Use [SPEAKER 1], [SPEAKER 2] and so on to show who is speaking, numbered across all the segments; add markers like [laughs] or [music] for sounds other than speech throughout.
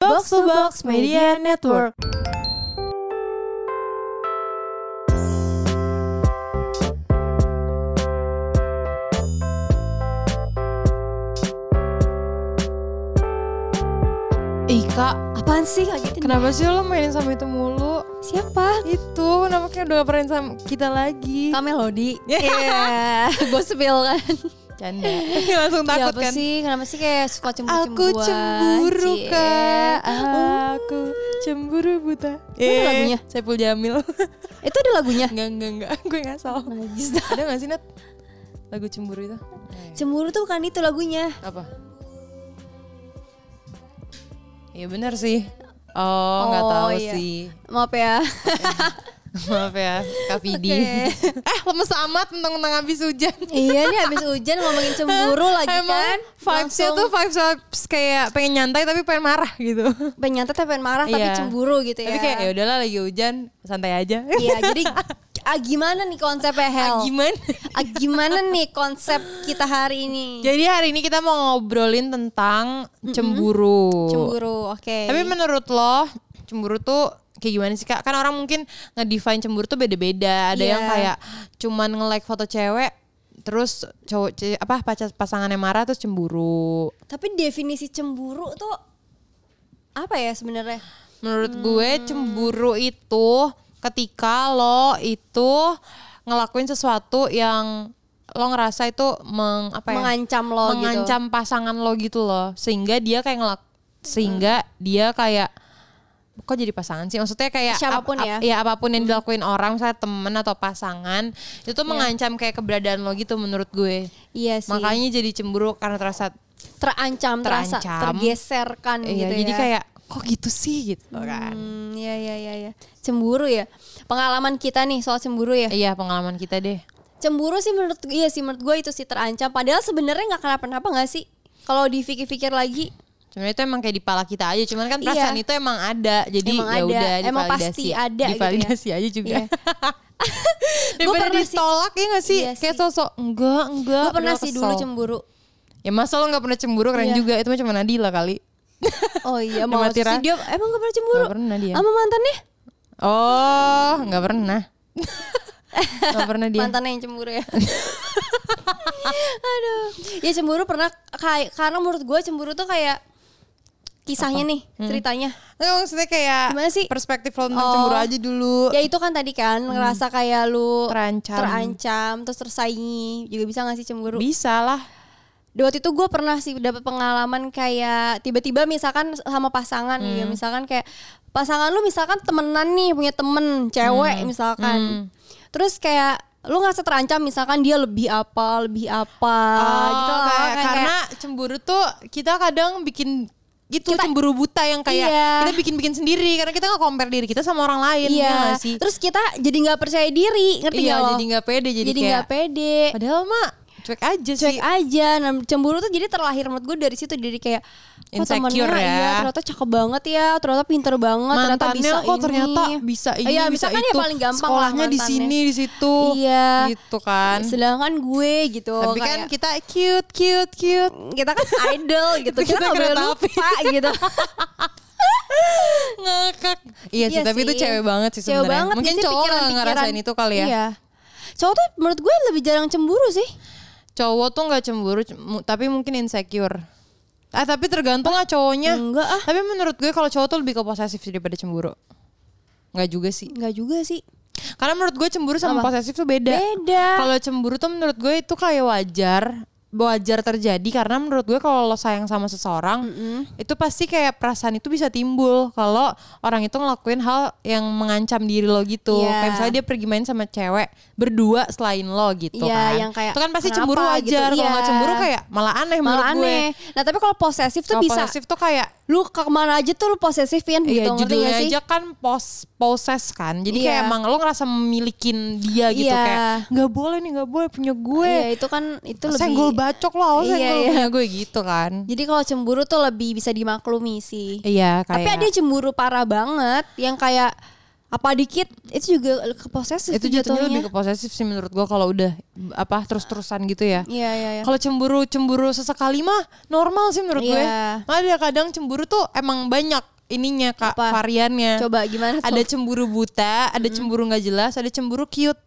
[SPEAKER 1] Box to Box Media Network.
[SPEAKER 2] Ih kak,
[SPEAKER 3] Apaan sih ngagetin?
[SPEAKER 1] Kenapa sih lo mainin sama itu mulu?
[SPEAKER 3] Siapa?
[SPEAKER 1] Itu kenapa kayak udah gak pernah sama kita lagi?
[SPEAKER 3] Kak Melody. Iya, gue spill kan.
[SPEAKER 1] Canda. [laughs] Langsung takut
[SPEAKER 3] Siapa
[SPEAKER 1] kan?
[SPEAKER 3] sih? Kenapa sih kayak suka cemburu-cemburuan?
[SPEAKER 1] Aku cemburu
[SPEAKER 3] Cie.
[SPEAKER 1] kak. Uh-huh.
[SPEAKER 3] Ah.
[SPEAKER 1] Aku cemburu buta. Eh,
[SPEAKER 3] Mana lagunya?
[SPEAKER 1] Saipul Jamil.
[SPEAKER 3] Itu ada lagunya.
[SPEAKER 1] [laughs] enggak enggak enggak. Gue ngasal.
[SPEAKER 3] Najis.
[SPEAKER 1] Ada gak sih Nat? Lagu cemburu itu?
[SPEAKER 3] Cemburu tuh bukan itu lagunya.
[SPEAKER 1] Apa? Iya benar sih. Oh, nggak
[SPEAKER 3] Oh,
[SPEAKER 1] tahu
[SPEAKER 3] iya.
[SPEAKER 1] sih.
[SPEAKER 3] Maaf
[SPEAKER 1] [laughs]
[SPEAKER 3] ya.
[SPEAKER 1] Maaf ya, Kak Vidi.
[SPEAKER 3] Oke.
[SPEAKER 1] eh, lemes amat tentang-tentang habis hujan.
[SPEAKER 3] iya nih habis hujan ngomongin
[SPEAKER 1] [laughs]
[SPEAKER 3] cemburu lagi
[SPEAKER 1] Emang
[SPEAKER 3] kan.
[SPEAKER 1] vibes-nya tuh vibes, vibes kayak pengen nyantai tapi pengen marah gitu.
[SPEAKER 3] pengen nyantet tapi pengen marah Ah, tapi
[SPEAKER 1] Iya.
[SPEAKER 3] cemburu gitu ya.
[SPEAKER 1] Tapi kayak ya udahlah lagi hujan, santai aja.
[SPEAKER 3] [laughs] Iya, jadi ah, gimana nih konsepnya Hel?
[SPEAKER 1] Ah,
[SPEAKER 3] [laughs]
[SPEAKER 1] Gimana?
[SPEAKER 3] Ah, gimana nih konsep kita hari ini?
[SPEAKER 1] Jadi hari ini kita mau ngobrolin tentang cemburu.
[SPEAKER 3] Cemburu, oke.
[SPEAKER 1] Tapi menurut lo, cemburu tuh kayak gimana sih kak? Kan orang mungkin ngedefine cemburu tuh beda-beda. Ada
[SPEAKER 3] Iya.
[SPEAKER 1] yang kayak cuman nge-like foto cewek, terus cowok ce- apa pacar pasangannya marah terus cemburu.
[SPEAKER 3] Tapi definisi cemburu tuh apa ya sebenarnya?
[SPEAKER 1] Menurut gue
[SPEAKER 3] Hmm.
[SPEAKER 1] cemburu itu ketika lo itu ngelakuin sesuatu yang lo ngerasa itu meng apa ya?
[SPEAKER 3] Mengancam lo gitu.
[SPEAKER 1] mengancam pasangan lo gitu loh. Sehingga dia kayak ngelak sehingga
[SPEAKER 3] Hmm.
[SPEAKER 1] dia kayak kok jadi pasangan sih? Maksudnya kayak
[SPEAKER 3] Siapapun ya.
[SPEAKER 1] ya apapun yang dilakuin orang misalnya temen atau pasangan itu tuh mengancam kayak keberadaan lo gitu menurut gue.
[SPEAKER 3] Iya sih.
[SPEAKER 1] Makanya jadi cemburu karena terasa
[SPEAKER 3] terancam, terasa
[SPEAKER 1] Terancam.
[SPEAKER 3] tergeserkan
[SPEAKER 1] iya,
[SPEAKER 3] gitu
[SPEAKER 1] jadi
[SPEAKER 3] ya.
[SPEAKER 1] kayak kok gitu sih gitu kan.
[SPEAKER 3] Hmm, iya iya iya iya. Cemburu ya. Pengalaman kita nih soal cemburu ya.
[SPEAKER 1] Iya pengalaman kita deh.
[SPEAKER 3] Cemburu sih menurut iya sih menurut gue itu sih terancam. Padahal sebenarnya nggak kenapa-napa nggak sih? Kalau dipikir-pikir
[SPEAKER 1] [laughs]
[SPEAKER 3] lagi
[SPEAKER 1] Sebenarnya itu emang kayak di pala kita aja, cuman kan
[SPEAKER 3] Iya.
[SPEAKER 1] perasaan itu emang ada. Jadi
[SPEAKER 3] Emang
[SPEAKER 1] ya
[SPEAKER 3] ada,
[SPEAKER 1] udah
[SPEAKER 3] emang
[SPEAKER 1] divalidasi.
[SPEAKER 3] pasti ada gitu ya.
[SPEAKER 1] Divalidasi aja juga. [laughs]
[SPEAKER 3] Iya. Gua
[SPEAKER 1] Daripada
[SPEAKER 3] pernah sih-
[SPEAKER 1] ditolak ya gak sih?
[SPEAKER 3] Iya
[SPEAKER 1] kayak
[SPEAKER 3] sih.
[SPEAKER 1] sosok enggak, enggak.
[SPEAKER 3] gue pernah
[SPEAKER 1] padahal
[SPEAKER 3] sih
[SPEAKER 1] kesel.
[SPEAKER 3] dulu cemburu.
[SPEAKER 1] Ya masa lo gak pernah cemburu keren
[SPEAKER 3] Iya.
[SPEAKER 1] juga, itu mah cuma Nadila kali.
[SPEAKER 3] Oh
[SPEAKER 1] [laughs]
[SPEAKER 3] iya,
[SPEAKER 1] Dia
[SPEAKER 3] mau
[SPEAKER 1] mati
[SPEAKER 3] sih
[SPEAKER 1] rasa.
[SPEAKER 3] dia emang gak pernah cemburu?
[SPEAKER 1] Nggak pernah dia.
[SPEAKER 3] Sama mantannya?
[SPEAKER 1] Oh, gak
[SPEAKER 3] [laughs]
[SPEAKER 1] pernah. gak pernah dia.
[SPEAKER 3] Mantannya yang cemburu ya. [laughs] Aduh. Ya cemburu pernah kayak karena menurut gue cemburu tuh kayak kisahnya nih, ceritanya.
[SPEAKER 1] Nggak, maksudnya kayak
[SPEAKER 3] Gimana sih?
[SPEAKER 1] perspektif lo tentang
[SPEAKER 3] Oh.
[SPEAKER 1] cemburu aja dulu.
[SPEAKER 3] Ya itu kan tadi kan ngerasa kayak lu
[SPEAKER 1] Terancam.
[SPEAKER 3] terancam, terus tersaingi, juga bisa ngasih cemburu.
[SPEAKER 1] Bisa lah.
[SPEAKER 3] Di waktu itu gue pernah sih dapat pengalaman kayak tiba-tiba misalkan sama pasangan gitu,
[SPEAKER 1] Hmm.
[SPEAKER 3] misalkan kayak pasangan lu misalkan temenan nih punya temen
[SPEAKER 1] Hmm.
[SPEAKER 3] cewek misalkan, terus kayak lu ngerasa terancam misalkan dia lebih apa lebih apa
[SPEAKER 1] Oh,
[SPEAKER 3] gitu loh,
[SPEAKER 1] kayak-
[SPEAKER 3] kayak-
[SPEAKER 1] karena cemburu tuh kita kadang bikin gitu cemburu buta yang kayak
[SPEAKER 3] Iya.
[SPEAKER 1] kita bikin-bikin sendiri karena kita nggak compare diri kita sama orang lain ya
[SPEAKER 3] iya
[SPEAKER 1] nggak sih
[SPEAKER 3] terus kita jadi nggak percaya diri ngerti
[SPEAKER 1] iya
[SPEAKER 3] nggak lo
[SPEAKER 1] jadi nggak pede jadi,
[SPEAKER 3] jadi
[SPEAKER 1] kayak
[SPEAKER 3] nggak pede
[SPEAKER 1] padahal mah cuek aja sih
[SPEAKER 3] cuek aja nah, cemburu tuh jadi terlahir menurut gue dari situ jadi kayak kok
[SPEAKER 1] Insecure
[SPEAKER 3] temennya
[SPEAKER 1] ya.
[SPEAKER 3] iya, ternyata cakep banget ya ternyata pinter banget ternyata
[SPEAKER 1] mantannya
[SPEAKER 3] bisa
[SPEAKER 1] kok
[SPEAKER 3] ini
[SPEAKER 1] ternyata bisa ini
[SPEAKER 3] Iya,
[SPEAKER 1] bisa
[SPEAKER 3] misalkan
[SPEAKER 1] itu
[SPEAKER 3] ya paling gampang lah
[SPEAKER 1] sekolahnya di
[SPEAKER 3] mantannya.
[SPEAKER 1] sini di situ
[SPEAKER 3] iya
[SPEAKER 1] gitu kan
[SPEAKER 3] sedangkan gue gitu
[SPEAKER 1] tapi kan
[SPEAKER 3] kayak-
[SPEAKER 1] kita cute cute cute
[SPEAKER 3] kita
[SPEAKER 1] [laughs]
[SPEAKER 3] kan idol gitu kita,
[SPEAKER 1] Kita
[SPEAKER 3] nggak boleh
[SPEAKER 1] kereta api.
[SPEAKER 3] lupa gitu
[SPEAKER 1] ngakak [laughs] iya, sih tapi itu cewek banget sih
[SPEAKER 3] Cewek
[SPEAKER 1] sebenarnya
[SPEAKER 3] banget,
[SPEAKER 1] mungkin
[SPEAKER 3] biasanya
[SPEAKER 1] cowok nggak
[SPEAKER 3] pikiran-pikiran.
[SPEAKER 1] ngerasain itu kali ya
[SPEAKER 3] Iya. Cowok tuh menurut gue lebih jarang cemburu sih.
[SPEAKER 1] cowok tuh nggak cemburu c- mu- tapi mungkin insecure ah tapi tergantung lah cowoknya
[SPEAKER 3] Enggak ah.
[SPEAKER 1] tapi menurut gue kalau cowok tuh lebih ke posesif sih daripada cemburu nggak juga sih
[SPEAKER 3] Enggak juga sih.
[SPEAKER 1] karena menurut gue cemburu sama posesif tuh beda
[SPEAKER 3] Beda.
[SPEAKER 1] kalau cemburu tuh menurut gue itu kayak wajar wajar terjadi karena menurut gue kalau lo sayang sama seseorang itu pasti kayak perasaan itu bisa timbul kalau orang itu ngelakuin hal yang mengancam diri lo gitu
[SPEAKER 3] Iya.
[SPEAKER 1] kayak misalnya dia pergi main sama cewek berdua selain lo gitu
[SPEAKER 3] Iya,
[SPEAKER 1] kan
[SPEAKER 3] yang kayak,
[SPEAKER 1] itu kan pasti
[SPEAKER 3] "Kenapa?"
[SPEAKER 1] cemburu wajar
[SPEAKER 3] gitu.
[SPEAKER 1] kalau nggak
[SPEAKER 3] Iya.
[SPEAKER 1] cemburu kayak malah aneh menurut
[SPEAKER 3] Malah
[SPEAKER 1] gue
[SPEAKER 3] aneh. Nah tapi kalau posesif tuh
[SPEAKER 1] Kalau
[SPEAKER 3] bisa.
[SPEAKER 1] posesif tuh kayak
[SPEAKER 3] Lu ke kemana aja tuh lu posesifin gitu.
[SPEAKER 1] Iya
[SPEAKER 3] ngerti
[SPEAKER 1] judulnya
[SPEAKER 3] nggak sih?
[SPEAKER 1] aja kan pos poses kan jadi kayak
[SPEAKER 3] Iya.
[SPEAKER 1] emang lo ngerasa memilikin dia gitu
[SPEAKER 3] Iya.
[SPEAKER 1] kayak nggak boleh nih nggak boleh punya gue
[SPEAKER 3] Iya itu kan itu lebih.
[SPEAKER 1] senggol bacok lo awas
[SPEAKER 3] Iya,
[SPEAKER 1] senggol
[SPEAKER 3] iya. [laughs]
[SPEAKER 1] punya gue gitu kan
[SPEAKER 3] Jadi kalau cemburu tuh lebih bisa dimaklumi sih.
[SPEAKER 1] iya kayak
[SPEAKER 3] Tapi ada yang cemburu parah banget yang kayak apa dikit itu juga ke posesif
[SPEAKER 1] itu jatuhnya lebih ke posesif sih menurut gue kalau udah mm, apa terus-terusan gitu ya
[SPEAKER 3] Iya iya iya.
[SPEAKER 1] Kalau cemburu cemburu sesekali mah normal sih menurut
[SPEAKER 3] Iya.
[SPEAKER 1] gue. Ada kadang cemburu tuh emang banyak ininya kak
[SPEAKER 3] Apa?
[SPEAKER 1] variannya.
[SPEAKER 3] Coba gimana tuh?
[SPEAKER 1] Ada cemburu buta, ada cemburu nggak jelas, ada cemburu cute.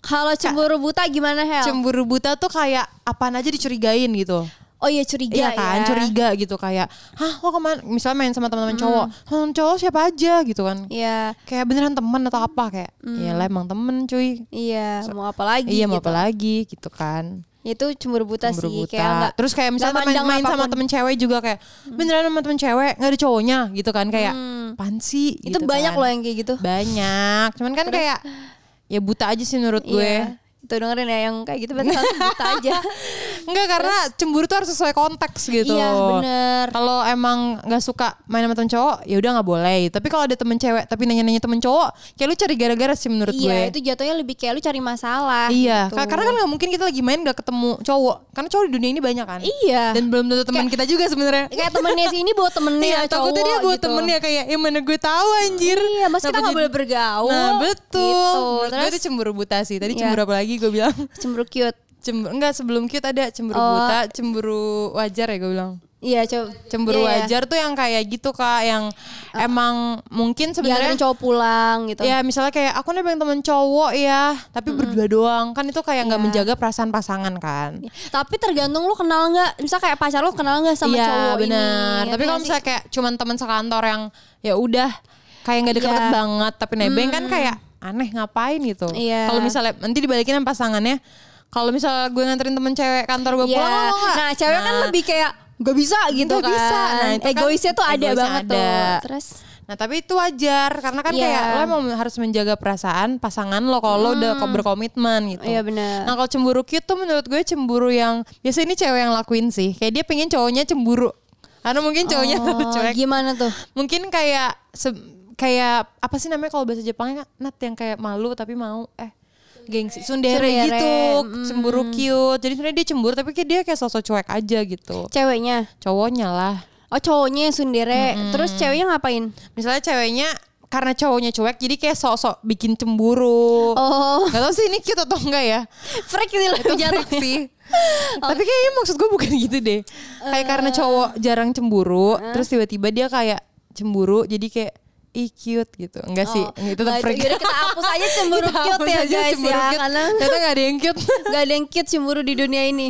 [SPEAKER 3] Kalau cemburu buta gimana Hel?
[SPEAKER 1] Cemburu buta tuh kayak apaan aja dicurigain gitu.
[SPEAKER 3] oh iya curiga
[SPEAKER 1] Iya kan,
[SPEAKER 3] ya.
[SPEAKER 1] curiga gitu kayak, hah lo kemana? Misalnya main sama teman-teman cowok, teman cowok siapa aja gitu kan?
[SPEAKER 3] Iya.
[SPEAKER 1] Kayak beneran temen atau apa kayak? Ya lah emang temen cuy.
[SPEAKER 3] Iya, mau apa lagi?
[SPEAKER 1] iya mau
[SPEAKER 3] Hmm. gitu.
[SPEAKER 1] apa lagi gitu kan?
[SPEAKER 3] Itu cemburu buta sih,
[SPEAKER 1] Cemburu buta.
[SPEAKER 3] kayak nggak-
[SPEAKER 1] Terus kayak misalnya
[SPEAKER 3] nggak
[SPEAKER 1] main,
[SPEAKER 3] mandang
[SPEAKER 1] main sama
[SPEAKER 3] apapun. Hmm.
[SPEAKER 1] temen cewek juga kayak beneran sama temen cewek nggak ada cowoknya gitu kan kayak pansi.
[SPEAKER 3] Itu banyak loh yang kayak gitu.
[SPEAKER 1] kan. Banyak, cuman kan kayak ya buta aja sih menurut gue.
[SPEAKER 3] Iya. Tuh dengerin ya yang kayak gitu berarti satu buta [laughs] aja.
[SPEAKER 1] Enggak karena cemburu tuh harus sesuai konteks gitu.
[SPEAKER 3] Iya, bener.
[SPEAKER 1] Kalau emang nggak suka main sama temen cowok, ya udah nggak boleh. Tapi kalau ada temen cewek tapi nanya-nanya temen cowok, kayak lu cari gara-gara sih menurut
[SPEAKER 3] Iya,
[SPEAKER 1] gue.
[SPEAKER 3] itu jatuhnya lebih kayak lu cari masalah.
[SPEAKER 1] Iya,
[SPEAKER 3] gitu.
[SPEAKER 1] ka- karena kan nggak mungkin kita lagi main nggak ketemu cowok. Karena cowok di dunia ini banyak kan.
[SPEAKER 3] Iya.
[SPEAKER 1] Dan belum tentu teman kita juga sebenarnya.
[SPEAKER 3] kayak temennya sini bawa temennya
[SPEAKER 1] Iya, takutnya dia
[SPEAKER 3] cowok
[SPEAKER 1] buat
[SPEAKER 3] gitu.
[SPEAKER 1] temennya kayak, ya mana gue tahu anjir.
[SPEAKER 3] Iya, mas kita
[SPEAKER 1] Kenapa
[SPEAKER 3] nggak
[SPEAKER 1] jadi-
[SPEAKER 3] boleh bergaul.
[SPEAKER 1] Nah betul.
[SPEAKER 3] Gitu.
[SPEAKER 1] Menurut gue
[SPEAKER 3] Terus
[SPEAKER 1] itu cemburu buta sih. Tadi
[SPEAKER 3] Iya.
[SPEAKER 1] cemburu apa lagi gue bilang? [laughs]
[SPEAKER 3] cemburu cute.
[SPEAKER 1] Cemburu, enggak sebelum cute ada cemburu
[SPEAKER 3] Oh.
[SPEAKER 1] buta, cemburu wajar ya gue bilang.
[SPEAKER 3] Iya, coba
[SPEAKER 1] cemburu
[SPEAKER 3] iya, iya.
[SPEAKER 1] wajar tuh yang kayak gitu kak yang emang mungkin
[SPEAKER 3] Biarin
[SPEAKER 1] sebenarnya
[SPEAKER 3] cowok pulang gitu.
[SPEAKER 1] ya misalnya kayak aku nih pengen temen cowok ya tapi berdua doang kan itu kayak nggak
[SPEAKER 3] Iya.
[SPEAKER 1] menjaga perasaan pasangan kan
[SPEAKER 3] Tapi tergantung lu kenal nggak, misal kayak pacar lu kenal nggak sama
[SPEAKER 1] Iya,
[SPEAKER 3] cowok ini.
[SPEAKER 1] benar tapi kalau
[SPEAKER 3] Ngerti nggak sih?
[SPEAKER 1] misalnya kayak cuman teman sekantor yang ya udah kayak nggak deket
[SPEAKER 3] Iya. Hmm.
[SPEAKER 1] banget tapi nebeng kan kayak aneh ngapain gitu
[SPEAKER 3] Iya.
[SPEAKER 1] kalau misalnya nanti dibalikin sama pasangannya kalau misalnya gue nganterin temen cewek kantor gue
[SPEAKER 3] Iya.
[SPEAKER 1] pulang lo mau nggak?
[SPEAKER 3] Nah, cewek kan lebih kayak gak bisa gitu
[SPEAKER 1] Nggak
[SPEAKER 3] kan.
[SPEAKER 1] bisa. Nah, itu kan
[SPEAKER 3] egoisnya tuh ada
[SPEAKER 1] egoisnya
[SPEAKER 3] banget
[SPEAKER 1] ada.
[SPEAKER 3] tuh. Terus
[SPEAKER 1] Nah tapi itu wajar karena kan
[SPEAKER 3] Iya.
[SPEAKER 1] kayak lo emang harus menjaga perasaan pasangan lo kalau lo udah ko- berkomitmen gitu.
[SPEAKER 3] Hmm. Iya, benar.
[SPEAKER 1] Nah kalau cemburu cute tuh menurut gue cemburu yang biasa ini cewek yang lakuin sih. Kayak dia pengen cowoknya cemburu karena mungkin cowoknya
[SPEAKER 3] [laughs] oh,
[SPEAKER 1] [laughs] cuek.
[SPEAKER 3] gimana tuh?
[SPEAKER 1] Mungkin kayak se- kayak apa sih namanya kalau bahasa Jepangnya nat yang kayak malu tapi mau eh gengsi sundere,
[SPEAKER 3] Tsundere,
[SPEAKER 1] gitu
[SPEAKER 3] mm.
[SPEAKER 1] cemburu cute jadi sebenarnya dia cemburu tapi kayak dia kayak sosok cuek aja gitu
[SPEAKER 3] Ceweknya.
[SPEAKER 1] cowoknya lah
[SPEAKER 3] Oh, cowoknya yang sundere. Terus ceweknya ngapain?
[SPEAKER 1] misalnya ceweknya karena cowoknya cuek jadi kayak sok-sok bikin cemburu
[SPEAKER 3] Oh,
[SPEAKER 1] Gak tau sih ini cute atau enggak ya
[SPEAKER 3] [laughs] freak gitu lah.
[SPEAKER 1] Itu
[SPEAKER 3] jatuh.
[SPEAKER 1] freak sih Tapi kayaknya maksud gue bukan gitu deh Kayak karena cowok jarang cemburu Terus tiba-tiba dia kayak cemburu Jadi kayak Ih cute gitu Enggak sih
[SPEAKER 3] [laughs] Oh,
[SPEAKER 1] Itu tetap
[SPEAKER 3] nah,
[SPEAKER 1] freak
[SPEAKER 3] yaudah kita hapus
[SPEAKER 1] [laughs]
[SPEAKER 3] aja cemburu
[SPEAKER 1] Kita
[SPEAKER 3] cute
[SPEAKER 1] hapus
[SPEAKER 3] ya
[SPEAKER 1] aja
[SPEAKER 3] guys
[SPEAKER 1] cemburu
[SPEAKER 3] ya.
[SPEAKER 1] cute.
[SPEAKER 3] [laughs] Karena
[SPEAKER 1] Ternyata gak ada yang cute [laughs]
[SPEAKER 3] gak ada yang cute cemburu di dunia ini.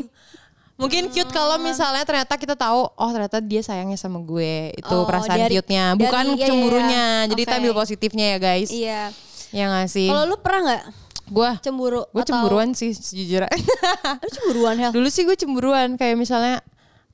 [SPEAKER 1] Mungkin cute
[SPEAKER 3] Ah.
[SPEAKER 1] kalau misalnya ternyata kita tahu Oh ternyata dia sayangnya sama gue Itu
[SPEAKER 3] Oh,
[SPEAKER 1] perasaan
[SPEAKER 3] dari-
[SPEAKER 1] cute-nya Bukan
[SPEAKER 3] dari- iya, iya, iya.
[SPEAKER 1] cemburunya Jadi kita
[SPEAKER 3] Oke.
[SPEAKER 1] ambil positifnya ya guys
[SPEAKER 3] Iya.
[SPEAKER 1] Ya gak sih
[SPEAKER 3] Kalau lu pernah nggak
[SPEAKER 1] Gue
[SPEAKER 3] cemburu?
[SPEAKER 1] Gue
[SPEAKER 3] atau-
[SPEAKER 1] cemburuan sih
[SPEAKER 3] [laughs]
[SPEAKER 1] sejujurnya
[SPEAKER 3] Lu cemburuan Hel?
[SPEAKER 1] Dulu sih gue cemburuan kayak misalnya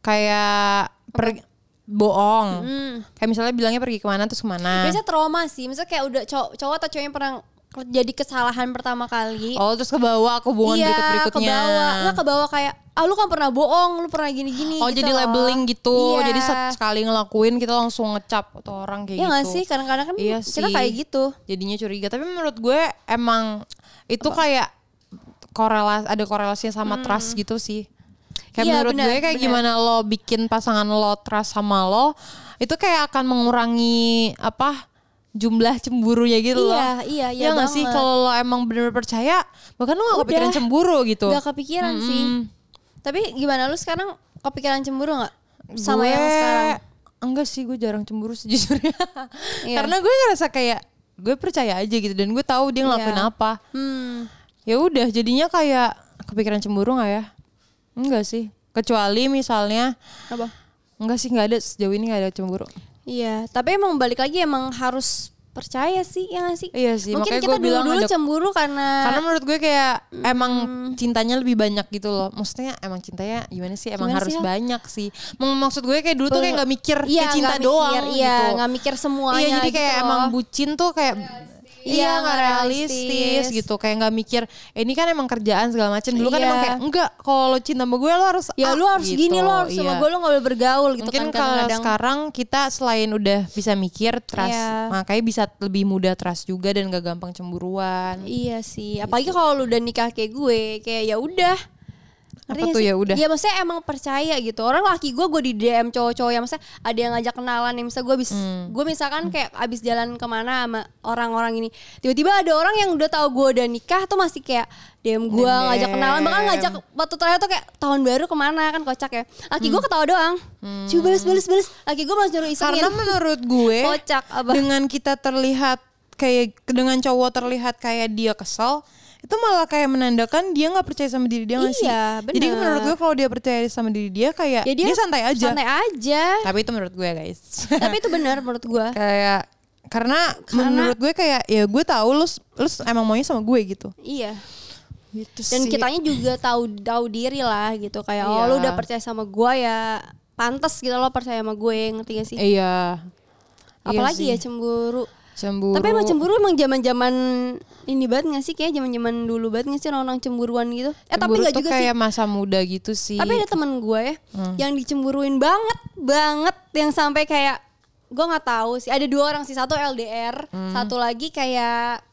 [SPEAKER 1] kayak per bohong.
[SPEAKER 3] Hmm.
[SPEAKER 1] Kayak misalnya bilangnya pergi kemana terus kemana.
[SPEAKER 3] Biasanya trauma sih. Misalnya kayak udah cowok, cowok atau cowok yang pernah ke- jadi kesalahan pertama kali.
[SPEAKER 1] Oh terus kebawa ke hubungan berikut-berikutnya.
[SPEAKER 3] Iya, kebawa. Nggak kebawa kayak, ah lu kan pernah bohong, lu pernah gini-gini
[SPEAKER 1] Oh
[SPEAKER 3] gitu
[SPEAKER 1] jadi
[SPEAKER 3] loh.
[SPEAKER 1] labeling gitu.
[SPEAKER 3] Iya.
[SPEAKER 1] Jadi se- sekali ngelakuin kita langsung ngecap atau orang kayak
[SPEAKER 3] Iya
[SPEAKER 1] gitu.
[SPEAKER 3] nggak sih? Kadang-kadang kan
[SPEAKER 1] Iya
[SPEAKER 3] kita
[SPEAKER 1] sih.
[SPEAKER 3] kayak gitu.
[SPEAKER 1] Jadinya curiga. Tapi menurut gue emang itu kayak korelas ada korelasinya sama trust gitu sih. Kayak
[SPEAKER 3] Hmm. Iya,
[SPEAKER 1] menurut
[SPEAKER 3] benar,
[SPEAKER 1] gue kayak
[SPEAKER 3] benar.
[SPEAKER 1] gimana lo bikin pasangan lo trust sama lo itu kayak akan mengurangi apa jumlah cemburunya gitu loh.
[SPEAKER 3] Iya, iya, iya
[SPEAKER 1] nggak sih
[SPEAKER 3] banget.
[SPEAKER 1] kalau lo emang bener-bener percaya bahkan lo
[SPEAKER 3] Udah.
[SPEAKER 1] gak kepikiran cemburu gitu.
[SPEAKER 3] Nggak kepikiran sih. Tapi gimana lu sekarang kepikiran cemburu nggak? Sama
[SPEAKER 1] Gue-
[SPEAKER 3] yang sekarang.
[SPEAKER 1] Enggak sih [laughs] gue jarang cemburu sejujurnya.
[SPEAKER 3] Iya.
[SPEAKER 1] Karena gue ngerasa kayak gue percaya aja gitu dan gue tahu dia ngelakuin
[SPEAKER 3] Iya.
[SPEAKER 1] apa.
[SPEAKER 3] Hmm.
[SPEAKER 1] ya udah jadinya kayak kepikiran cemburu nggak ya enggak sih kecuali misalnya
[SPEAKER 3] Apa?
[SPEAKER 1] enggak sih nggak ada sejauh ini nggak ada cemburu
[SPEAKER 3] Iya, tapi emang balik lagi emang harus percaya sih ya nggak sih?
[SPEAKER 1] Iya sih,
[SPEAKER 3] Mungkin
[SPEAKER 1] makanya
[SPEAKER 3] kita
[SPEAKER 1] gua bilang
[SPEAKER 3] dulu-dulu
[SPEAKER 1] ada-
[SPEAKER 3] cemburu karena,
[SPEAKER 1] karena menurut gue kayak emang cintanya lebih banyak gitu loh maksudnya emang cintanya gimana sih emang
[SPEAKER 3] Gimana
[SPEAKER 1] harus
[SPEAKER 3] sih, Hel?
[SPEAKER 1] banyak sih Mem- maksud gue kayak dulu tuh kayak nggak mikir kayak
[SPEAKER 3] Iya,
[SPEAKER 1] cinta
[SPEAKER 3] nggak
[SPEAKER 1] doang
[SPEAKER 3] mikir, Iya,
[SPEAKER 1] gitu
[SPEAKER 3] nggak mikir semuanya.
[SPEAKER 1] Iya jadi
[SPEAKER 3] gitu
[SPEAKER 1] kayak
[SPEAKER 3] loh.
[SPEAKER 1] emang bucin tuh kayak Iya
[SPEAKER 3] Iya,
[SPEAKER 1] nggak
[SPEAKER 3] nggak
[SPEAKER 1] realistis
[SPEAKER 3] realistis.
[SPEAKER 1] gitu kayak nggak mikir eh, ini kan emang kerjaan segala macam dulu kan
[SPEAKER 3] Iya.
[SPEAKER 1] emang kayak enggak kalau lo cinta sama gue lo harus
[SPEAKER 3] ya
[SPEAKER 1] A,"
[SPEAKER 3] lu harus
[SPEAKER 1] gitu.
[SPEAKER 3] gini lo harus
[SPEAKER 1] Iya.
[SPEAKER 3] sama gue lu nggak boleh bergaul gitu
[SPEAKER 1] Mungkin
[SPEAKER 3] kan
[SPEAKER 1] kalau
[SPEAKER 3] kadang-kadang.
[SPEAKER 1] sekarang kita selain udah bisa mikir trust,
[SPEAKER 3] Iya.
[SPEAKER 1] makanya bisa lebih mudah trust juga dan gak gampang cemburuan.
[SPEAKER 3] Iya sih, apalagi kalau lu udah nikah kayak gue, kayak ya udah.
[SPEAKER 1] Apa
[SPEAKER 3] Ngerti nggak
[SPEAKER 1] tuh
[SPEAKER 3] sih?
[SPEAKER 1] ya udah?
[SPEAKER 3] Iya maksudnya emang percaya gitu. Orang laki gue gue di DM cowok-cowok yang maksudnya ada yang ngajak kenalan nih. Misalnya gue abis,
[SPEAKER 1] Hmm.
[SPEAKER 3] gue misalkan kayak abis jalan kemana sama orang-orang ini. Tiba-tiba ada orang yang udah tahu gue udah nikah tuh masih kayak DM gue
[SPEAKER 1] DM.
[SPEAKER 3] ngajak kenalan. Bahkan ngajak waktu terakhir tuh kayak tahun baru kemana kan kocak ya. Laki gue ketawa doang. Coba balas balas balas. Laki gue masih nyuruh isengin.
[SPEAKER 1] Hmm. Karena menurut gue
[SPEAKER 3] Kocak, apa?
[SPEAKER 1] dengan kita terlihat kayak dengan cowok terlihat kayak dia kesal itu malah kayak menandakan dia nggak percaya sama diri dia nggak sih?
[SPEAKER 3] Iya,
[SPEAKER 1] Jadi
[SPEAKER 3] benar.
[SPEAKER 1] menurut gue kalau dia percaya sama diri dia kayak Eh,
[SPEAKER 3] Ya,
[SPEAKER 1] dia, santai aja.
[SPEAKER 3] Santai
[SPEAKER 1] [laughs]
[SPEAKER 3] aja.
[SPEAKER 1] Tapi itu menurut gue guys. [laughs]
[SPEAKER 3] Tapi itu benar menurut gue.
[SPEAKER 1] kayak karena, menurut gue kayak ya gue tahu lu lu emang maunya sama gue gitu.
[SPEAKER 3] Iya.
[SPEAKER 1] Gitu
[SPEAKER 3] dan
[SPEAKER 1] sih.
[SPEAKER 3] kitanya juga tahu tahu diri lah gitu kayak oh
[SPEAKER 1] Iya.
[SPEAKER 3] lu udah percaya sama gua ya pantas gitu lo percaya sama gue ngerti gak sih
[SPEAKER 1] iya.
[SPEAKER 3] apalagi
[SPEAKER 1] iya
[SPEAKER 3] ya cemburu
[SPEAKER 1] sih. cemburu.
[SPEAKER 3] tapi emang cemburu emang zaman zaman ini banget gak sih kayak zaman zaman dulu banget gak sih orang-orang cemburuan gitu eh tapi
[SPEAKER 1] Cemburu
[SPEAKER 3] nggak
[SPEAKER 1] tuh
[SPEAKER 3] juga sih
[SPEAKER 1] kayak masa muda gitu Hmm. sih.
[SPEAKER 3] tapi ada temen gue ya yang dicemburuin banget banget yang sampai kayak gue nggak tahu sih ada dua orang sih satu LDR
[SPEAKER 1] Hmm.
[SPEAKER 3] satu lagi kayak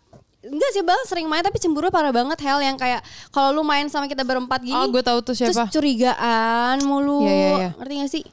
[SPEAKER 3] enggak sih bang sering main tapi cemburu parah banget hell yang kayak kalau lu main sama kita berempat gini
[SPEAKER 1] oh, gue tahu tuh siapa.
[SPEAKER 3] Terus curigaan mulu.
[SPEAKER 1] Iya, iya, iya.
[SPEAKER 3] Ngerti gak sih?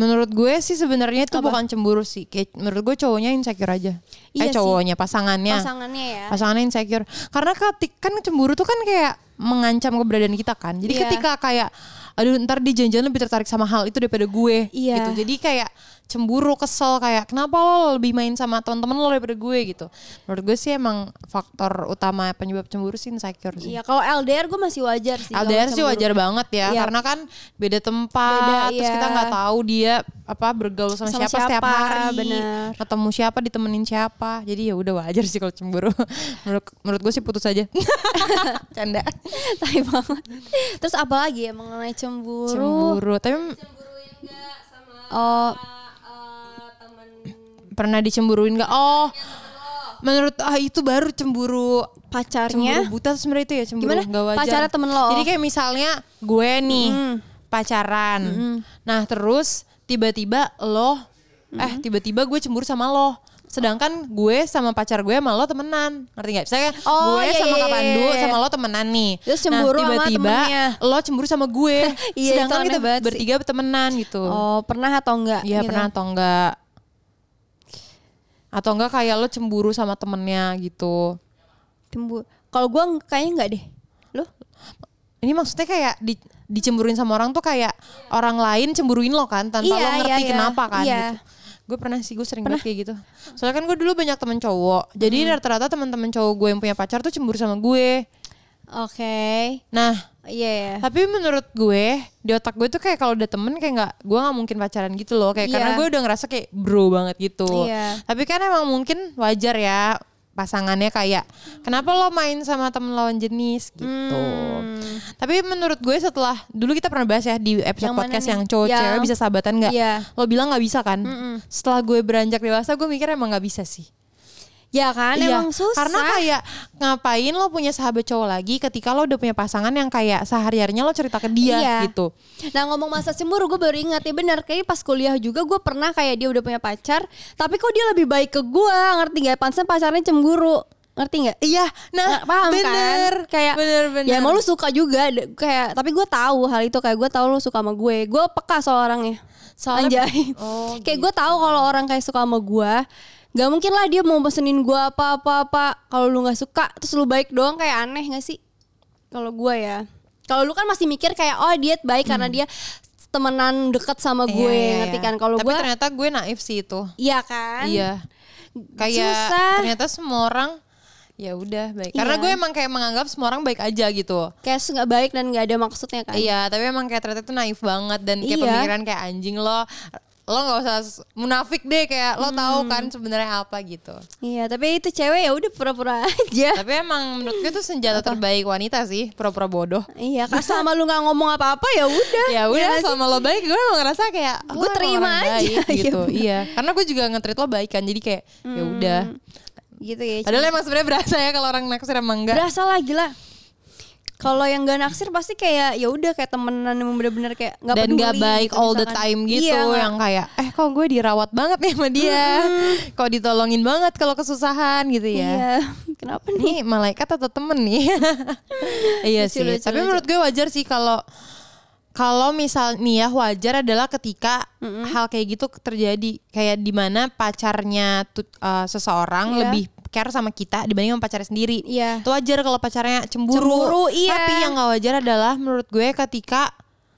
[SPEAKER 1] Menurut gue sih sebenarnya itu
[SPEAKER 3] Apa?
[SPEAKER 1] bukan cemburu sih. Kayak menurut gue cowoknya insecure aja.
[SPEAKER 3] Iya
[SPEAKER 1] eh
[SPEAKER 3] sih.
[SPEAKER 1] cowoknya pasangannya.
[SPEAKER 3] Pasangannya ya.
[SPEAKER 1] Pasangannya insecure. Karena ketik kan cemburu tuh kan kayak mengancam keberadaan kita kan. Jadi
[SPEAKER 3] Iya.
[SPEAKER 1] ketika kayak aduh ntar dia janjian lebih tertarik sama hal itu daripada gue
[SPEAKER 3] Iya.
[SPEAKER 1] gitu. Jadi kayak cemburu kesel kayak kenapa lo lebih main sama teman-teman lo daripada gue gitu. Menurut gue sih emang faktor utama penyebab cemburu sih insecure sih.
[SPEAKER 3] Iya, kalau LDR gue masih wajar sih. kalau
[SPEAKER 1] LDR sih
[SPEAKER 3] cemburu. [laughs]
[SPEAKER 1] wajar banget ya,
[SPEAKER 3] Iya.
[SPEAKER 1] karena kan beda tempat,
[SPEAKER 3] Beda,
[SPEAKER 1] terus
[SPEAKER 3] iya.
[SPEAKER 1] kita nggak tahu dia apa bergaul sama,
[SPEAKER 3] Sama
[SPEAKER 1] siapa, setiap
[SPEAKER 3] siapa,
[SPEAKER 1] hari,
[SPEAKER 3] bener.
[SPEAKER 1] ketemu siapa, ditemenin siapa, jadi ya udah wajar sih kalau cemburu. [laughs] menurut menurut gue sih putus
[SPEAKER 3] [laughs]
[SPEAKER 1] aja. Canda.
[SPEAKER 3] Tai banget. Terus apa lagi ya mengenai cemburu?
[SPEAKER 1] Cemburu, tapi
[SPEAKER 3] Oh,
[SPEAKER 1] pernah dicemburuin nggak?
[SPEAKER 3] Iya,
[SPEAKER 1] Oh, menurut ah itu baru cemburu
[SPEAKER 3] pacarnya.
[SPEAKER 1] cemburu buta tuh sebenarnya itu ya cemburu
[SPEAKER 3] Gimana?
[SPEAKER 1] nggak wajar
[SPEAKER 3] Pacarnya temen lo?
[SPEAKER 1] jadi kayak misalnya gue nih pacaran nah terus tiba-tiba lo eh tiba-tiba gue cemburu sama lo sedangkan gue sama pacar gue sama lo temenan ngerti nggak? Misalnya
[SPEAKER 3] Oh,
[SPEAKER 1] gue
[SPEAKER 3] iya,
[SPEAKER 1] sama
[SPEAKER 3] iya,
[SPEAKER 1] Kak Pandu
[SPEAKER 3] iya, iya.
[SPEAKER 1] sama lo temenan nih.
[SPEAKER 3] Terus cemburu
[SPEAKER 1] nah,
[SPEAKER 3] sama
[SPEAKER 1] tiba-tiba
[SPEAKER 3] temennya.
[SPEAKER 1] lo cemburu sama gue.
[SPEAKER 3] [laughs] Iya, itu
[SPEAKER 1] sedangkan
[SPEAKER 3] aneh
[SPEAKER 1] kita
[SPEAKER 3] banget sih.
[SPEAKER 1] bertiga temenan gitu.
[SPEAKER 3] Oh, pernah atau enggak?
[SPEAKER 1] Iya
[SPEAKER 3] gitu.
[SPEAKER 1] pernah atau enggak atau enggak kayak lo cemburu sama temennya gitu
[SPEAKER 3] Cemburu. Kalau gue kayaknya enggak deh. Lo?
[SPEAKER 1] ini maksudnya kayak di- dicemburuin sama orang tuh kayak orang lain cemburuin lo kan tanpa
[SPEAKER 3] Iya,
[SPEAKER 1] lo ngerti
[SPEAKER 3] iya, iya.
[SPEAKER 1] kenapa kan
[SPEAKER 3] Iya.
[SPEAKER 1] gitu. Gue pernah sih gue sering banget kayak gitu. Soalnya kan gue dulu banyak temen cowok. Jadi
[SPEAKER 3] Hmm.
[SPEAKER 1] rata-rata teman-teman cowok gue yang punya pacar tuh cemburu sama gue.
[SPEAKER 3] Oke.
[SPEAKER 1] Nah,
[SPEAKER 3] Iya ya.
[SPEAKER 1] tapi menurut gue di otak gue tuh kayak kalau udah temen kayak nggak gue nggak mungkin pacaran gitu loh kayak
[SPEAKER 3] Iya.
[SPEAKER 1] karena gue udah ngerasa kayak bro banget gitu.
[SPEAKER 3] Iya.
[SPEAKER 1] Tapi kan emang mungkin wajar ya pasangannya kayak kenapa lo main sama temen lawan jenis gitu. Tapi menurut gue setelah dulu kita pernah bahas ya di episode
[SPEAKER 3] Hmm. Yang mana
[SPEAKER 1] podcast
[SPEAKER 3] nih?
[SPEAKER 1] yang cowok
[SPEAKER 3] Yang-
[SPEAKER 1] cewek bisa sahabatan nggak?
[SPEAKER 3] Iya.
[SPEAKER 1] Lo bilang nggak bisa kan? Setelah gue beranjak dewasa gue mikir emang nggak bisa sih.
[SPEAKER 3] Ya kan
[SPEAKER 1] Iya,
[SPEAKER 3] emang susah.
[SPEAKER 1] Karena kayak ngapain lo punya sahabat cowok lagi ketika lo udah punya pasangan yang kayak sehari harinya lo cerita ke dia
[SPEAKER 3] Iya.
[SPEAKER 1] gitu.
[SPEAKER 3] Nah ngomong masa cemburu gue baru ingat ya benar kayak pas kuliah juga gue pernah kayak dia udah punya pacar tapi kok dia lebih baik ke gue ngerti nggak? Pantesan pacarnya cemburu ngerti nggak?
[SPEAKER 1] Iya, nah,
[SPEAKER 3] Nggak paham
[SPEAKER 1] bener,
[SPEAKER 3] kan? Kayak
[SPEAKER 1] bener bener. Iya,
[SPEAKER 3] ya emang lu suka juga de- kayak tapi gue tahu hal itu kayak gue tahu lu suka sama gue gue peka soal orangnya
[SPEAKER 1] Soalnya-
[SPEAKER 3] anjay
[SPEAKER 1] [laughs]
[SPEAKER 3] [laughs]
[SPEAKER 1] Oh,
[SPEAKER 3] kayak gue tahu kalau orang kayak suka sama gue nggak mungkin lah dia mau pesenin gue apa apa apa kalau lu nggak suka terus lu baik doang kayak aneh nggak sih kalau gue ya kalau lu kan masih mikir kayak oh dia baik karena dia temenan deket sama
[SPEAKER 1] Hmm. Iya,
[SPEAKER 3] gue
[SPEAKER 1] iya,
[SPEAKER 3] ngerti
[SPEAKER 1] iya.
[SPEAKER 3] kan kalau
[SPEAKER 1] Tapi
[SPEAKER 3] gue
[SPEAKER 1] ternyata gue naif sih itu.
[SPEAKER 3] iya kan
[SPEAKER 1] Iya. Kayak
[SPEAKER 3] Susah.
[SPEAKER 1] ternyata semua orang ya udah baik. Karena
[SPEAKER 3] Iya.
[SPEAKER 1] gue emang kayak menganggap semua orang baik aja gitu.
[SPEAKER 3] kayak nggak baik dan nggak ada maksudnya kan
[SPEAKER 1] Iya, tapi emang kayak ternyata itu naif banget dan kayak
[SPEAKER 3] Iya.
[SPEAKER 1] pemikiran kayak anjing lo lo nggak usah s- munafik deh kayak
[SPEAKER 3] Hmm.
[SPEAKER 1] lo tahu kan sebenarnya apa gitu.
[SPEAKER 3] Iya, tapi itu cewek ya udah pura-pura [laughs] aja
[SPEAKER 1] Tapi emang menurut gue itu senjata terbaik wanita sih, pura-pura bodoh.
[SPEAKER 3] Iya, kan sama lu nggak ngomong apa-apa ya udah.
[SPEAKER 1] Ya udah sama lo baik gue emang ngerasa kayak
[SPEAKER 3] Gue
[SPEAKER 1] lo emang
[SPEAKER 3] terima
[SPEAKER 1] orang
[SPEAKER 3] aja,
[SPEAKER 1] baik,
[SPEAKER 3] [laughs] iya
[SPEAKER 1] gitu.
[SPEAKER 3] bener.
[SPEAKER 1] iya. Karena gue juga ngetrit lo baik kan. Jadi kayak ya udah.
[SPEAKER 3] Gitu ya.
[SPEAKER 1] Padahal emang sebenarnya berasa ya kalau orang naksir emang enggak.
[SPEAKER 3] berasa lah gila. Kalau yang gak naksir pasti kayak ya udah kayak temenan yang bener-bener kayak nggak
[SPEAKER 1] dan
[SPEAKER 3] peduli
[SPEAKER 1] gak baik
[SPEAKER 3] gitu,
[SPEAKER 1] all the
[SPEAKER 3] misalkan.
[SPEAKER 1] time gitu
[SPEAKER 3] Iya, nggak-
[SPEAKER 1] yang kayak eh kok gue dirawat banget nih sama dia kok ditolongin banget kalau kesusahan gitu ya
[SPEAKER 3] Iya. [laughs] Kenapa nih?
[SPEAKER 1] ini malaikat atau temen nih [laughs] iya
[SPEAKER 3] Lucu,
[SPEAKER 1] sih
[SPEAKER 3] lucu,
[SPEAKER 1] tapi
[SPEAKER 3] lucu.
[SPEAKER 1] menurut gue wajar sih kalau kalau misal nih ya wajar adalah ketika hal kayak gitu terjadi kayak dimana pacarnya tut- eh, seseorang
[SPEAKER 3] Iya.
[SPEAKER 1] lebih care sama kita dibanding sama pacarnya sendiri
[SPEAKER 3] Iya.
[SPEAKER 1] itu wajar kalau pacarnya cemburu
[SPEAKER 3] Cemburu, iya.
[SPEAKER 1] tapi yang gak wajar adalah menurut gue ketika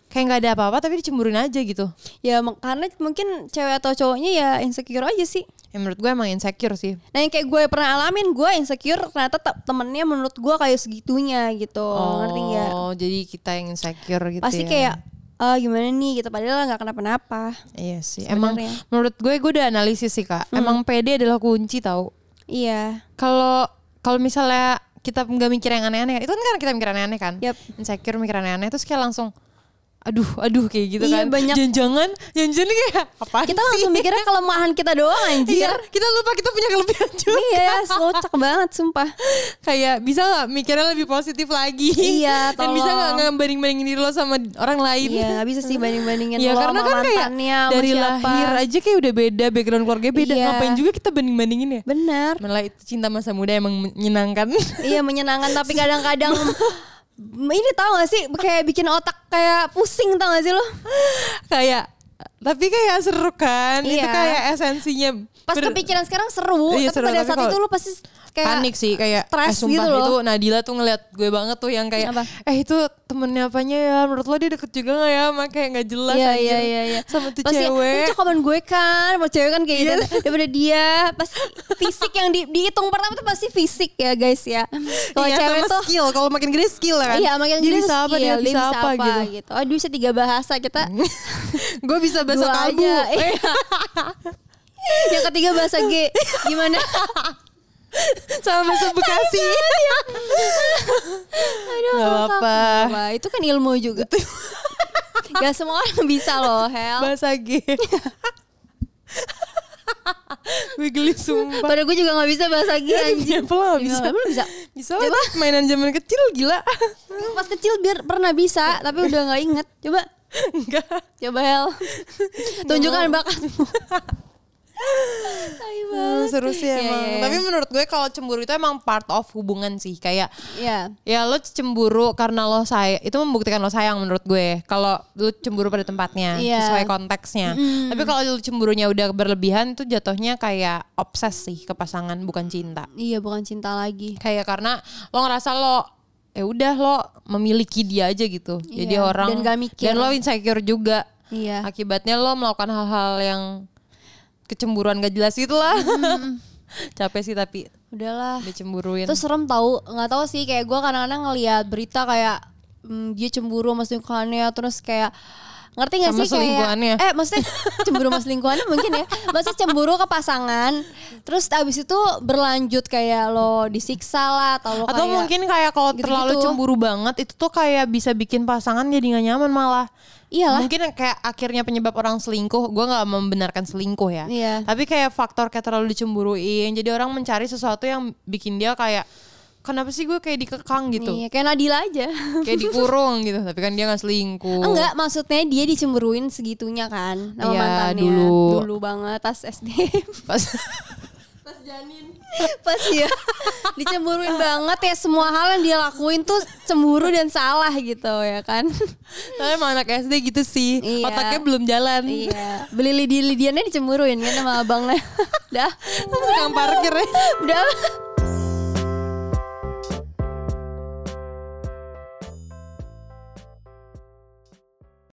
[SPEAKER 1] kayak nggak ada apa-apa tapi dicemburin aja gitu
[SPEAKER 3] Ya mak- karena mungkin cewek atau cowoknya ya insecure aja sih.
[SPEAKER 1] Ya, menurut gue emang insecure sih.
[SPEAKER 3] Nah yang kayak gue pernah alamin gue insecure ternyata te- temennya menurut gue kayak segitunya gitu ngerti nggak?
[SPEAKER 1] Oh, jadi kita yang insecure gitu.
[SPEAKER 3] Pasti
[SPEAKER 1] ya.
[SPEAKER 3] kayak "Ah, gimana nih gitu padahal nggak kenapa-napa.
[SPEAKER 1] Iya sih.
[SPEAKER 3] Sebenarnya. Hmm.
[SPEAKER 1] Emang menurut gue gue udah analisis sih kak. Emang pede adalah kunci tau.
[SPEAKER 3] Iya.
[SPEAKER 1] Kalau kalau misalnya kita nggak mikir yang aneh-aneh, itu kan karena kita mikir aneh-aneh kan.
[SPEAKER 3] Yap.
[SPEAKER 1] Insecure mikir aneh-aneh terus kayak langsung aduh aduh kayak gitu
[SPEAKER 3] Iya,
[SPEAKER 1] kan.
[SPEAKER 3] banyak.
[SPEAKER 1] Jangan-jangan jangan-jangan kayak apa
[SPEAKER 3] Kita langsung mikirnya kelemahan kita
[SPEAKER 1] [laughs]
[SPEAKER 3] doang anjir.
[SPEAKER 1] kita lupa kita punya kelebihan juga. kan."
[SPEAKER 3] Iya, kocak banget sumpah.
[SPEAKER 1] kayak bisa nggak mikirnya lebih positif lagi
[SPEAKER 3] Iya,
[SPEAKER 1] dan bisa nggak
[SPEAKER 3] tolong.
[SPEAKER 1] ngebanding bandingin diri lo sama orang lain
[SPEAKER 3] Iya, nggak bisa sih banding-bandingin
[SPEAKER 1] Iya
[SPEAKER 3] lo
[SPEAKER 1] karena
[SPEAKER 3] sama
[SPEAKER 1] kan kayak
[SPEAKER 3] mantannya sama
[SPEAKER 1] dari
[SPEAKER 3] siapa.
[SPEAKER 1] lahir aja kayak udah beda background keluarga beda
[SPEAKER 3] Iya.
[SPEAKER 1] ngapain juga kita banding bandingin ya
[SPEAKER 3] Benar.
[SPEAKER 1] malah itu cinta masa muda emang
[SPEAKER 3] [laughs]
[SPEAKER 1] menyenangkan
[SPEAKER 3] Iya, menyenangkan tapi
[SPEAKER 1] [laughs]
[SPEAKER 3] kadang-kadang ini tau gak sih kayak bikin otak kayak pusing tau gak sih lo?
[SPEAKER 1] kayak tapi kayak seru kan itu
[SPEAKER 3] Iya.
[SPEAKER 1] kayak esensinya
[SPEAKER 3] Pas
[SPEAKER 1] Ber-
[SPEAKER 3] kepikiran sekarang seru,
[SPEAKER 1] Iya,
[SPEAKER 3] tapi
[SPEAKER 1] seru,
[SPEAKER 3] pada
[SPEAKER 1] tapi
[SPEAKER 3] saat
[SPEAKER 1] kalau-
[SPEAKER 3] itu lo pasti kayak
[SPEAKER 1] panik sih kayak eh,
[SPEAKER 3] stres
[SPEAKER 1] sumpah
[SPEAKER 3] gitu loh.
[SPEAKER 1] itu Nadila tuh ngeliat gue banget tuh yang kayak
[SPEAKER 3] Apa?
[SPEAKER 1] eh itu temennya apanya ya menurut lo dia deket juga gak ya sama kayak nggak jelas
[SPEAKER 3] Iya
[SPEAKER 1] anjir.
[SPEAKER 3] iya iya iya.
[SPEAKER 1] sama tuh
[SPEAKER 3] Pasti,
[SPEAKER 1] cewek Iya.
[SPEAKER 3] "Ini cakupan gue kan, mau cewek kan kayak gitu. Daripada dia pasti fisik yang di- dihitung pertama tuh pasti fisik ya guys
[SPEAKER 1] [laughs]
[SPEAKER 3] ya. Kalau
[SPEAKER 1] Iya,
[SPEAKER 3] cewek
[SPEAKER 1] sama
[SPEAKER 3] tuh
[SPEAKER 1] skill kalau makin gede skill ya kan
[SPEAKER 3] Iya, makin
[SPEAKER 1] Dia
[SPEAKER 3] gede
[SPEAKER 1] bisa
[SPEAKER 3] tuh
[SPEAKER 1] apa dia
[SPEAKER 3] skill,
[SPEAKER 1] bisa apa gitu
[SPEAKER 3] gitu. Oh, dia bisa tiga bahasa kita.
[SPEAKER 1] gue bisa bahasa Eh,
[SPEAKER 3] dua
[SPEAKER 1] kalbu [laughs]
[SPEAKER 3] aja. [laughs] Iya. yang ketiga bahasa G. Gimana?
[SPEAKER 1] sama [laughs] bahasa Bekasi
[SPEAKER 3] ya.
[SPEAKER 1] [laughs]
[SPEAKER 3] Aduh,
[SPEAKER 1] Gak apa-apa.
[SPEAKER 3] Wah, itu kan ilmu juga. [laughs] Gak semua orang bisa loh, Hel.
[SPEAKER 1] bahasa [laughs] G gue geli sumpah
[SPEAKER 3] Padahal gue juga gak bisa bahasa G anjing.
[SPEAKER 1] Kenapa lo gak bisa?
[SPEAKER 3] Gimana, lu bisa?
[SPEAKER 1] Bisa lah itu mainan zaman kecil gila [laughs]
[SPEAKER 3] Pas kecil biar pernah bisa, tapi udah gak inget. Coba
[SPEAKER 1] Enggak
[SPEAKER 3] Coba [laughs] Hel Tunjukkan bakatmu Tai
[SPEAKER 1] Hmm,
[SPEAKER 3] banget.
[SPEAKER 1] Seru sih
[SPEAKER 3] Iya,
[SPEAKER 1] emang
[SPEAKER 3] iya, iya.
[SPEAKER 1] Tapi menurut gue kalau cemburu itu emang part of hubungan sih Kayak
[SPEAKER 3] Iya
[SPEAKER 1] Ya lo cemburu karena lo sayang Itu membuktikan lo sayang menurut gue Kalau lo cemburu pada tempatnya
[SPEAKER 3] Iya.
[SPEAKER 1] Sesuai konteksnya Tapi kalau lo cemburunya udah berlebihan Itu jatuhnya kayak obses sih ke pasangan Bukan cinta
[SPEAKER 3] Iya bukan cinta lagi
[SPEAKER 1] Kayak karena lo ngerasa lo ya udah lo memiliki dia aja gitu Jadi
[SPEAKER 3] Iya,
[SPEAKER 1] orang
[SPEAKER 3] dan gak mikir.
[SPEAKER 1] dan lo insecure juga
[SPEAKER 3] Iya
[SPEAKER 1] Akibatnya lo melakukan hal-hal yang Kecemburuan gak jelas gitu lah [laughs] Capek sih tapi
[SPEAKER 3] Udahlah
[SPEAKER 1] dicemburuin
[SPEAKER 3] Itu serem tau nggak tau sih kayak gue kadang-kadang ngeliat berita kayak mm, Dia cemburu sama selingkuhannya Terus kayak Ngerti gak
[SPEAKER 1] Sama
[SPEAKER 3] sih kayak
[SPEAKER 1] selingkuhannya.
[SPEAKER 3] Eh maksudnya [laughs] cemburu sama selingkuhannya mungkin ya Maksudnya cemburu ke pasangan Terus abis itu berlanjut kayak lo disiksa lah Atau lo
[SPEAKER 1] Atau
[SPEAKER 3] kayak
[SPEAKER 1] mungkin kayak kalau
[SPEAKER 3] gitu-gitu.
[SPEAKER 1] terlalu cemburu banget itu tuh kayak bisa bikin pasangan jadi nggak nyaman malah.
[SPEAKER 3] Iyalah
[SPEAKER 1] Mungkin kayak akhirnya penyebab orang selingkuh, gua nggak membenarkan selingkuh ya.
[SPEAKER 3] Iya.
[SPEAKER 1] Tapi kayak faktor kayak terlalu dicemburuin, jadi orang mencari sesuatu yang bikin dia kayak kenapa sih gue kayak dikekang gitu,
[SPEAKER 3] Iya, kayak Nadila aja
[SPEAKER 1] kayak dikurung gitu. Tapi kan dia nggak selingkuh.
[SPEAKER 3] Enggak, maksudnya dia dicemburuin segitunya kan sama
[SPEAKER 1] Iya,
[SPEAKER 3] mantannya.
[SPEAKER 1] dulu.
[SPEAKER 3] Dulu banget pas SD.
[SPEAKER 1] Pas
[SPEAKER 3] pas janin. [laughs] pas ya. Dicemburuin banget ya semua hal yang dia lakuin tuh cemburu dan salah gitu ya kan.
[SPEAKER 1] Tapi emang anak SD gitu sih,
[SPEAKER 3] Iya.
[SPEAKER 1] otaknya belum jalan.
[SPEAKER 3] iya. Beli lidi lidiannya dicemburuin kan sama abangnya. [laughs] Dah.
[SPEAKER 1] Tukang parkir ya.
[SPEAKER 3] Udah.